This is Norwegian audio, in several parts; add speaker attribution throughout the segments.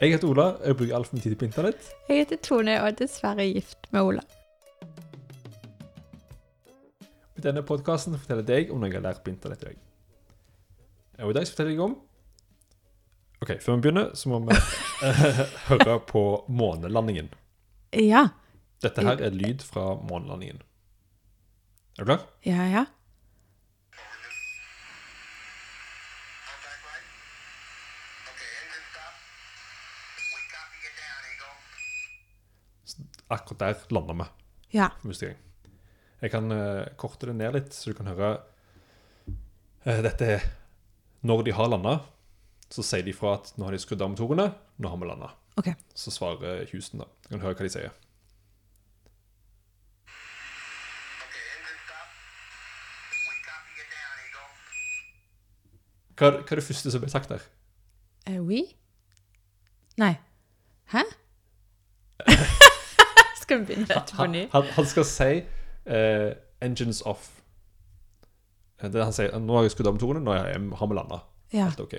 Speaker 1: Jeg heter Ola, og jeg bruker altfor mye tid på internett.
Speaker 2: Jeg heter Tone og er dessverre gift med Ola.
Speaker 1: I denne podkasten forteller jeg deg om noe jeg har lært på internett. i dag. Og i dag så forteller jeg om OK, før vi begynner, så må vi eh, høre på månelandingen.
Speaker 2: Ja.
Speaker 1: Dette her er lyd fra månelandingen. Er du klar?
Speaker 2: Ja, ja.
Speaker 3: Contact right. Okay, engine stop. We copy you down, Eagle.
Speaker 1: Akkurat der landa vi.
Speaker 2: Ja.
Speaker 1: for første gang. Jeg kan eh, korte det ned litt, så du kan høre eh, Dette er Når de har landa, så sier de fra at nå har de skrudd av motorene, nå har vi landa.
Speaker 2: OK.
Speaker 1: Så svarer Houston, da. Du kan høre hva de sier.
Speaker 3: Okay, engine stop. We copy you down, Eagle.
Speaker 1: Hva, hva er det første som ble sagt der?
Speaker 2: Er we? Nei. Hæ? Skal vi begynne dette på
Speaker 1: Han,
Speaker 2: ny?
Speaker 1: han, han skal si eh, 'engines off'. Eh, Det han sier, Nå har jeg skrudd av motorene, nå har jeg- har vi landa.
Speaker 2: Ja.
Speaker 1: Alt er OK.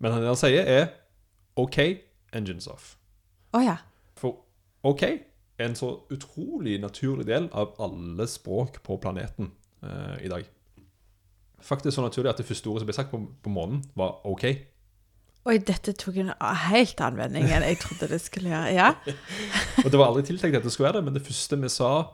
Speaker 1: Men det han sier, er 'OK, engines off'.
Speaker 2: Å ja.
Speaker 1: For OK er en så utrolig naturlig del av alle språk på planeten eh, i dag. Faktisk så naturlig at det første ordet som ble sagt på, på månen, var OK.
Speaker 2: Oi, dette tok en helt annen vending enn jeg trodde det skulle gjøre. Ja.
Speaker 1: Og det var aldri tiltenkt at det skulle være det, men det første vi sa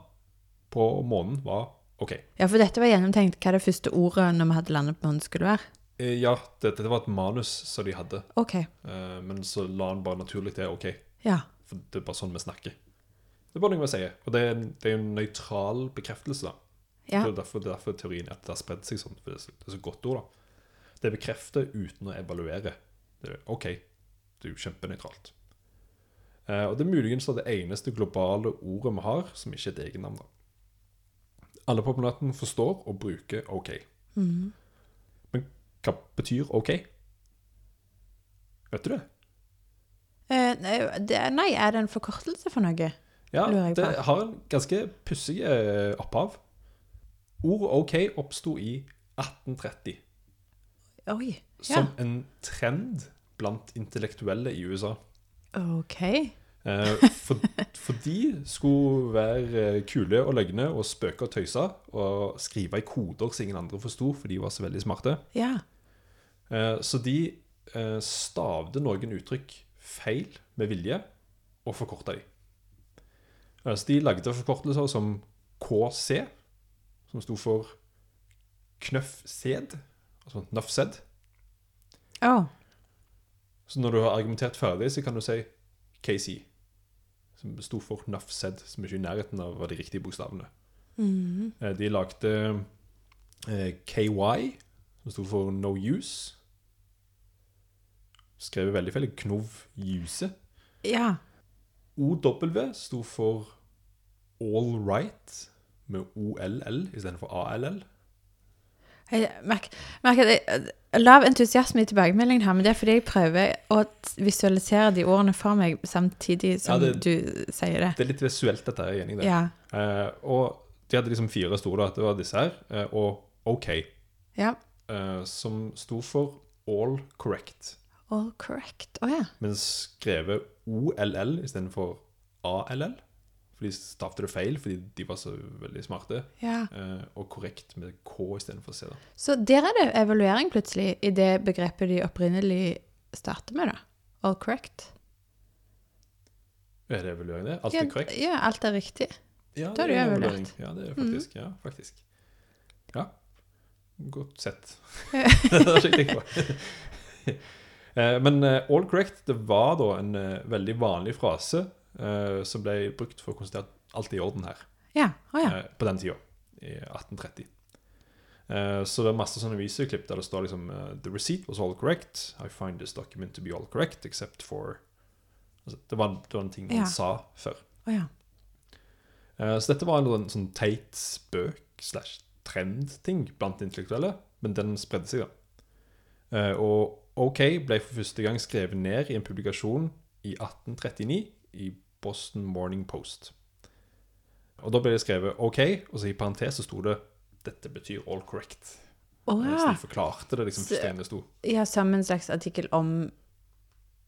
Speaker 1: på månen, var OK.
Speaker 2: ja, for dette var gjennomtenkt hva det første ordet når vi hadde landet på hånden skulle være.
Speaker 1: Eh, ja, dette det var et manus som de hadde,
Speaker 2: OK.
Speaker 1: eh, men så la han bare naturlig til OK.
Speaker 2: Ja.
Speaker 1: For det er bare sånn vi snakker. Det er bare noe vi sier. Og det er, en- det er en nøytral bekreftelse, da.
Speaker 2: Ja.
Speaker 1: Det er derfor, det er derfor teorien er at det har spredd seg sånn. For det er så, det er så godt ord, da. Det bekrefter uten å evaluere. Det er, OK, det er jo kjempenøytralt. Eh, og det er muligens da det eneste globale ordet vi har som ikke er et egennavn. da. Alle på planeten forstår og bruker OK.
Speaker 2: Mhm.
Speaker 1: Men hva betyr OK? Vet du det?
Speaker 2: Eh, nei, det, nei, er det en forkortelse for noe?
Speaker 1: Ja,
Speaker 2: Lurer jeg
Speaker 1: det
Speaker 2: på.
Speaker 1: har en ganske pussig eh, opphav. Ordet OK oppsto i 1830.
Speaker 2: Oi. Ja.
Speaker 1: som en trend blant intellektuelle i USA.
Speaker 2: OK.
Speaker 1: Eh, for, for de skulle være eh, kule og løgne og spøke og tøyse og skrive i koder som ingen andre forsto, for de var så veldig smarte.
Speaker 2: Ja.
Speaker 1: Eh, så de eh, stavde noen uttrykk feil med vilje og forkorta de. Eh, så de lagde forkortelser som KC, som sto for knøff sed, altså nøff sed.
Speaker 2: Å.
Speaker 1: Så når du har argumentert ferdig, så kan du si KC. Som sto for Nuff Said, som ikke er i nærheten av de riktige bokstavene.
Speaker 2: Mm.
Speaker 1: Eh, De lagde eh, KY, som sto for No Use. Skrev veldig feil. Knov Use.
Speaker 2: Ja.
Speaker 1: OW sto for All Right, med OLL istedenfor ALL.
Speaker 2: Jeg merker, merker at jeg, lav entusiasme i tilbakemeldingen her, men det er fordi jeg prøver å t- visualisere de ordene for meg samtidig som
Speaker 1: Ja, det-
Speaker 2: du sier det.
Speaker 1: Det er litt visuelt, dette. her, jeg er enig i det.
Speaker 2: Ja.
Speaker 1: Eh, og de hadde liksom fire store. da. Det var disse her, eh, og OK.
Speaker 2: ja.
Speaker 1: eh, som sto for All Correct,
Speaker 2: All correct. Å ja.
Speaker 1: men skrevet OLL istedenfor ALL. For de stavte det feil fordi de var så veldig smarte.
Speaker 2: ja.
Speaker 1: eh, og korrekt med K istedenfor C. da.
Speaker 2: Så der er det evaluering plutselig i det begrepet de opprinnelig starter med, da. All correct.
Speaker 1: Er det evaluering, det? Alt er korrekt?
Speaker 2: Ja, alt er riktig.
Speaker 1: Ja,
Speaker 2: da er det
Speaker 1: en
Speaker 2: evaluert. Mm.
Speaker 1: evaluering. Ja, det er det faktisk. Ja, faktisk. Ja. Godt sett. det har ikke jeg tenkt på. Eh, Men eh, all correct, det var da en eh, veldig vanlig frase eh, som ble brukt for å konstatere at alt er i orden her.
Speaker 2: Ja. Å ja.
Speaker 1: eh, på den tida, i 1830. Eh, Så det er masse sånne videoklipp der det står liksom eh, The receipt was all correct. I find this document to be all correct except for altså, det, var, det var en ting man
Speaker 2: Ja.
Speaker 1: sa før.
Speaker 2: Å ja.
Speaker 1: Eh, Så dette var en sånn, sånn teit spøk slash trend-ting blant intellektuelle, men den spredde seg, da. Eh, Og OK ble for første gang skrevet ned i en publikasjon i 1839 i Boston Morning Post. Og da ble det skrevet OK, og så i parentes så sto det 'Dette betyr all correct'.
Speaker 2: Å
Speaker 1: Eh, Så
Speaker 2: ja.
Speaker 1: de forklarte det liksom første gang det sto.
Speaker 2: ja. Som en slags artikkel om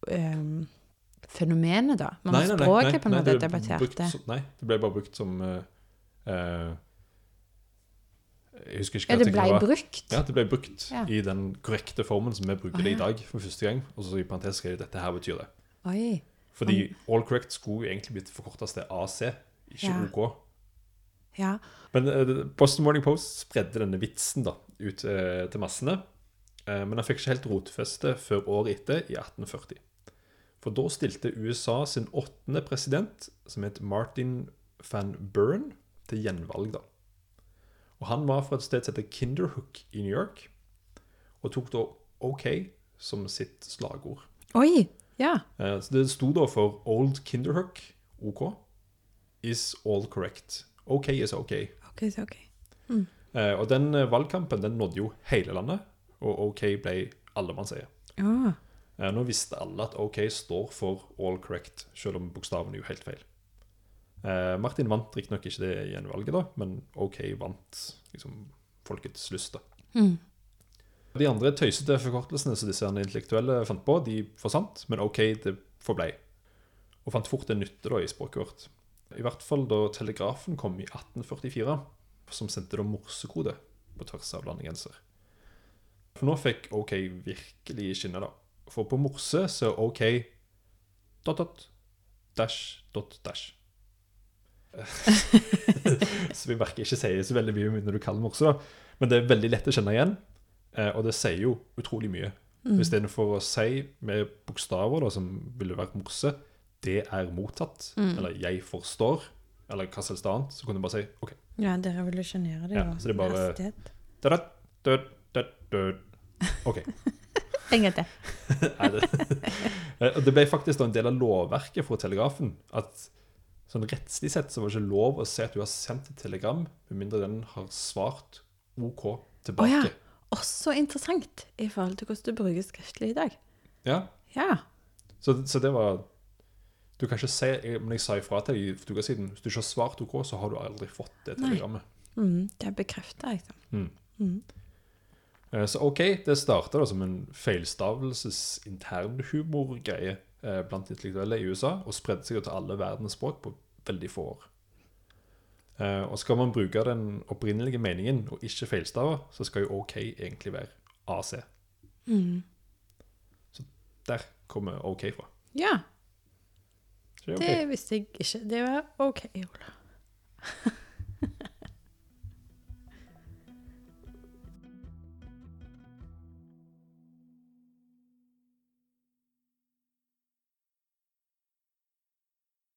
Speaker 2: ehm, fenomenet, da? Man har språket på en måte
Speaker 1: det ble
Speaker 2: debattert
Speaker 1: brukt
Speaker 2: det.
Speaker 1: som- Nei, det ble bare brukt som eh, eh, Jeg husker ikke
Speaker 2: Ja,
Speaker 1: hva
Speaker 2: det
Speaker 1: artikkelen
Speaker 2: blei
Speaker 1: var.
Speaker 2: brukt.
Speaker 1: Ja, det ble brukt
Speaker 2: Ja.
Speaker 1: i den korrekte formen som vi bruker
Speaker 2: Å,
Speaker 1: det i
Speaker 2: ja.
Speaker 1: dag for første gang. Og så i parentes skrev de dette her betyr det.
Speaker 2: Oi.
Speaker 1: Fordi all correct skulle jo egentlig blitt forkortet til AC, ikke
Speaker 2: Ja.
Speaker 1: OK.
Speaker 2: Ja.
Speaker 1: Men eh, Boston Morning Post spredde denne vitsen da, ut eh, til massene. Eh, men han fikk ikke helt rotfeste før året etter, i 1840. For da stilte USA sin åttende president, som het Martin van Buren, til gjenvalg. da. Og Han var fra et sted som heter Kinderhook i New York, og tok da OK som sitt slagord.
Speaker 2: Oi. Ja.
Speaker 1: Eh, Så det sto da for Old Kinderhook, OK, is all correct. OK is OK.
Speaker 2: OK, så OK.
Speaker 1: Eh, og den eh, valgkampen den nådde jo hele landet, og OK ble allemannseie.
Speaker 2: Å.
Speaker 1: Eh, nå visste alle at OK står for all correct, selv om bokstaven er jo helt feil. Eh, Martin vant riktignok ikke det gjenvalget, da, men OK vant liksom, folkets lyst. da.
Speaker 2: Mm.
Speaker 1: De andre tøysete forkortelsene som disse her intellektuelle fant på, de forsvant, men OK, det forblei. Og fant fort en nytte da i språket vårt. I hvert fall da telegrafen kom i 1844, som sendte da morsekode på tvers av landegrenser. For nå fikk OK virkelig skinne, da. For på morse så er OK dot, dot, dash, dot, dash. så vi merker ikke sier så veldig mye når du kaller morse, da. Men det er veldig lett å kjenne igjen. Eh, og det sier jo utrolig mye. Mm. Istedenfor å si med bokstaver da, som ville vært morse, 'det er mottatt', eller 'jeg forstår', eller hva som helst annet, så kunne du bare si OK.
Speaker 2: Ja, det revolusjonerer det
Speaker 1: Ja,
Speaker 2: jo.
Speaker 1: så det er bare-
Speaker 2: Hastighet.
Speaker 1: Da, da, da, da, da. OK.
Speaker 2: En gang til.
Speaker 1: Nei, det. Eh, og det ble faktisk da en del av lovverket for telegrafen at sånn rettslig sett så var det ikke lov å si at du har sendt et telegram, med mindre den har svart OK
Speaker 2: Å ja.
Speaker 1: tilbake.
Speaker 2: Også interessant i forhold til hvordan du bruker skriftlig i dag.
Speaker 1: ja.
Speaker 2: Ja.
Speaker 1: Så, så det var Du kan ikke si Men jeg sa ifra til deg for to uker siden. Hvis du ikke har svart OK, så har du aldri fått det
Speaker 2: Nei.
Speaker 1: telegrammet.
Speaker 2: Mm, det bekrefter jeg. Liksom.
Speaker 1: Eh, Så OK, det starta som en feilstavelses internhumorgreie eh, blant intellektuelle i USA, og spredde seg jo til alle verdens språk på veldig få år. Eh, Og skal man bruke den opprinnelige meningen og ikke feilstave, så skal jo OK egentlig være AC.
Speaker 2: Mm.
Speaker 1: Så der kommer OK fra.
Speaker 2: Ja.
Speaker 1: Så det er OK.
Speaker 2: Det visste jeg ikke. Det var OK, Ola.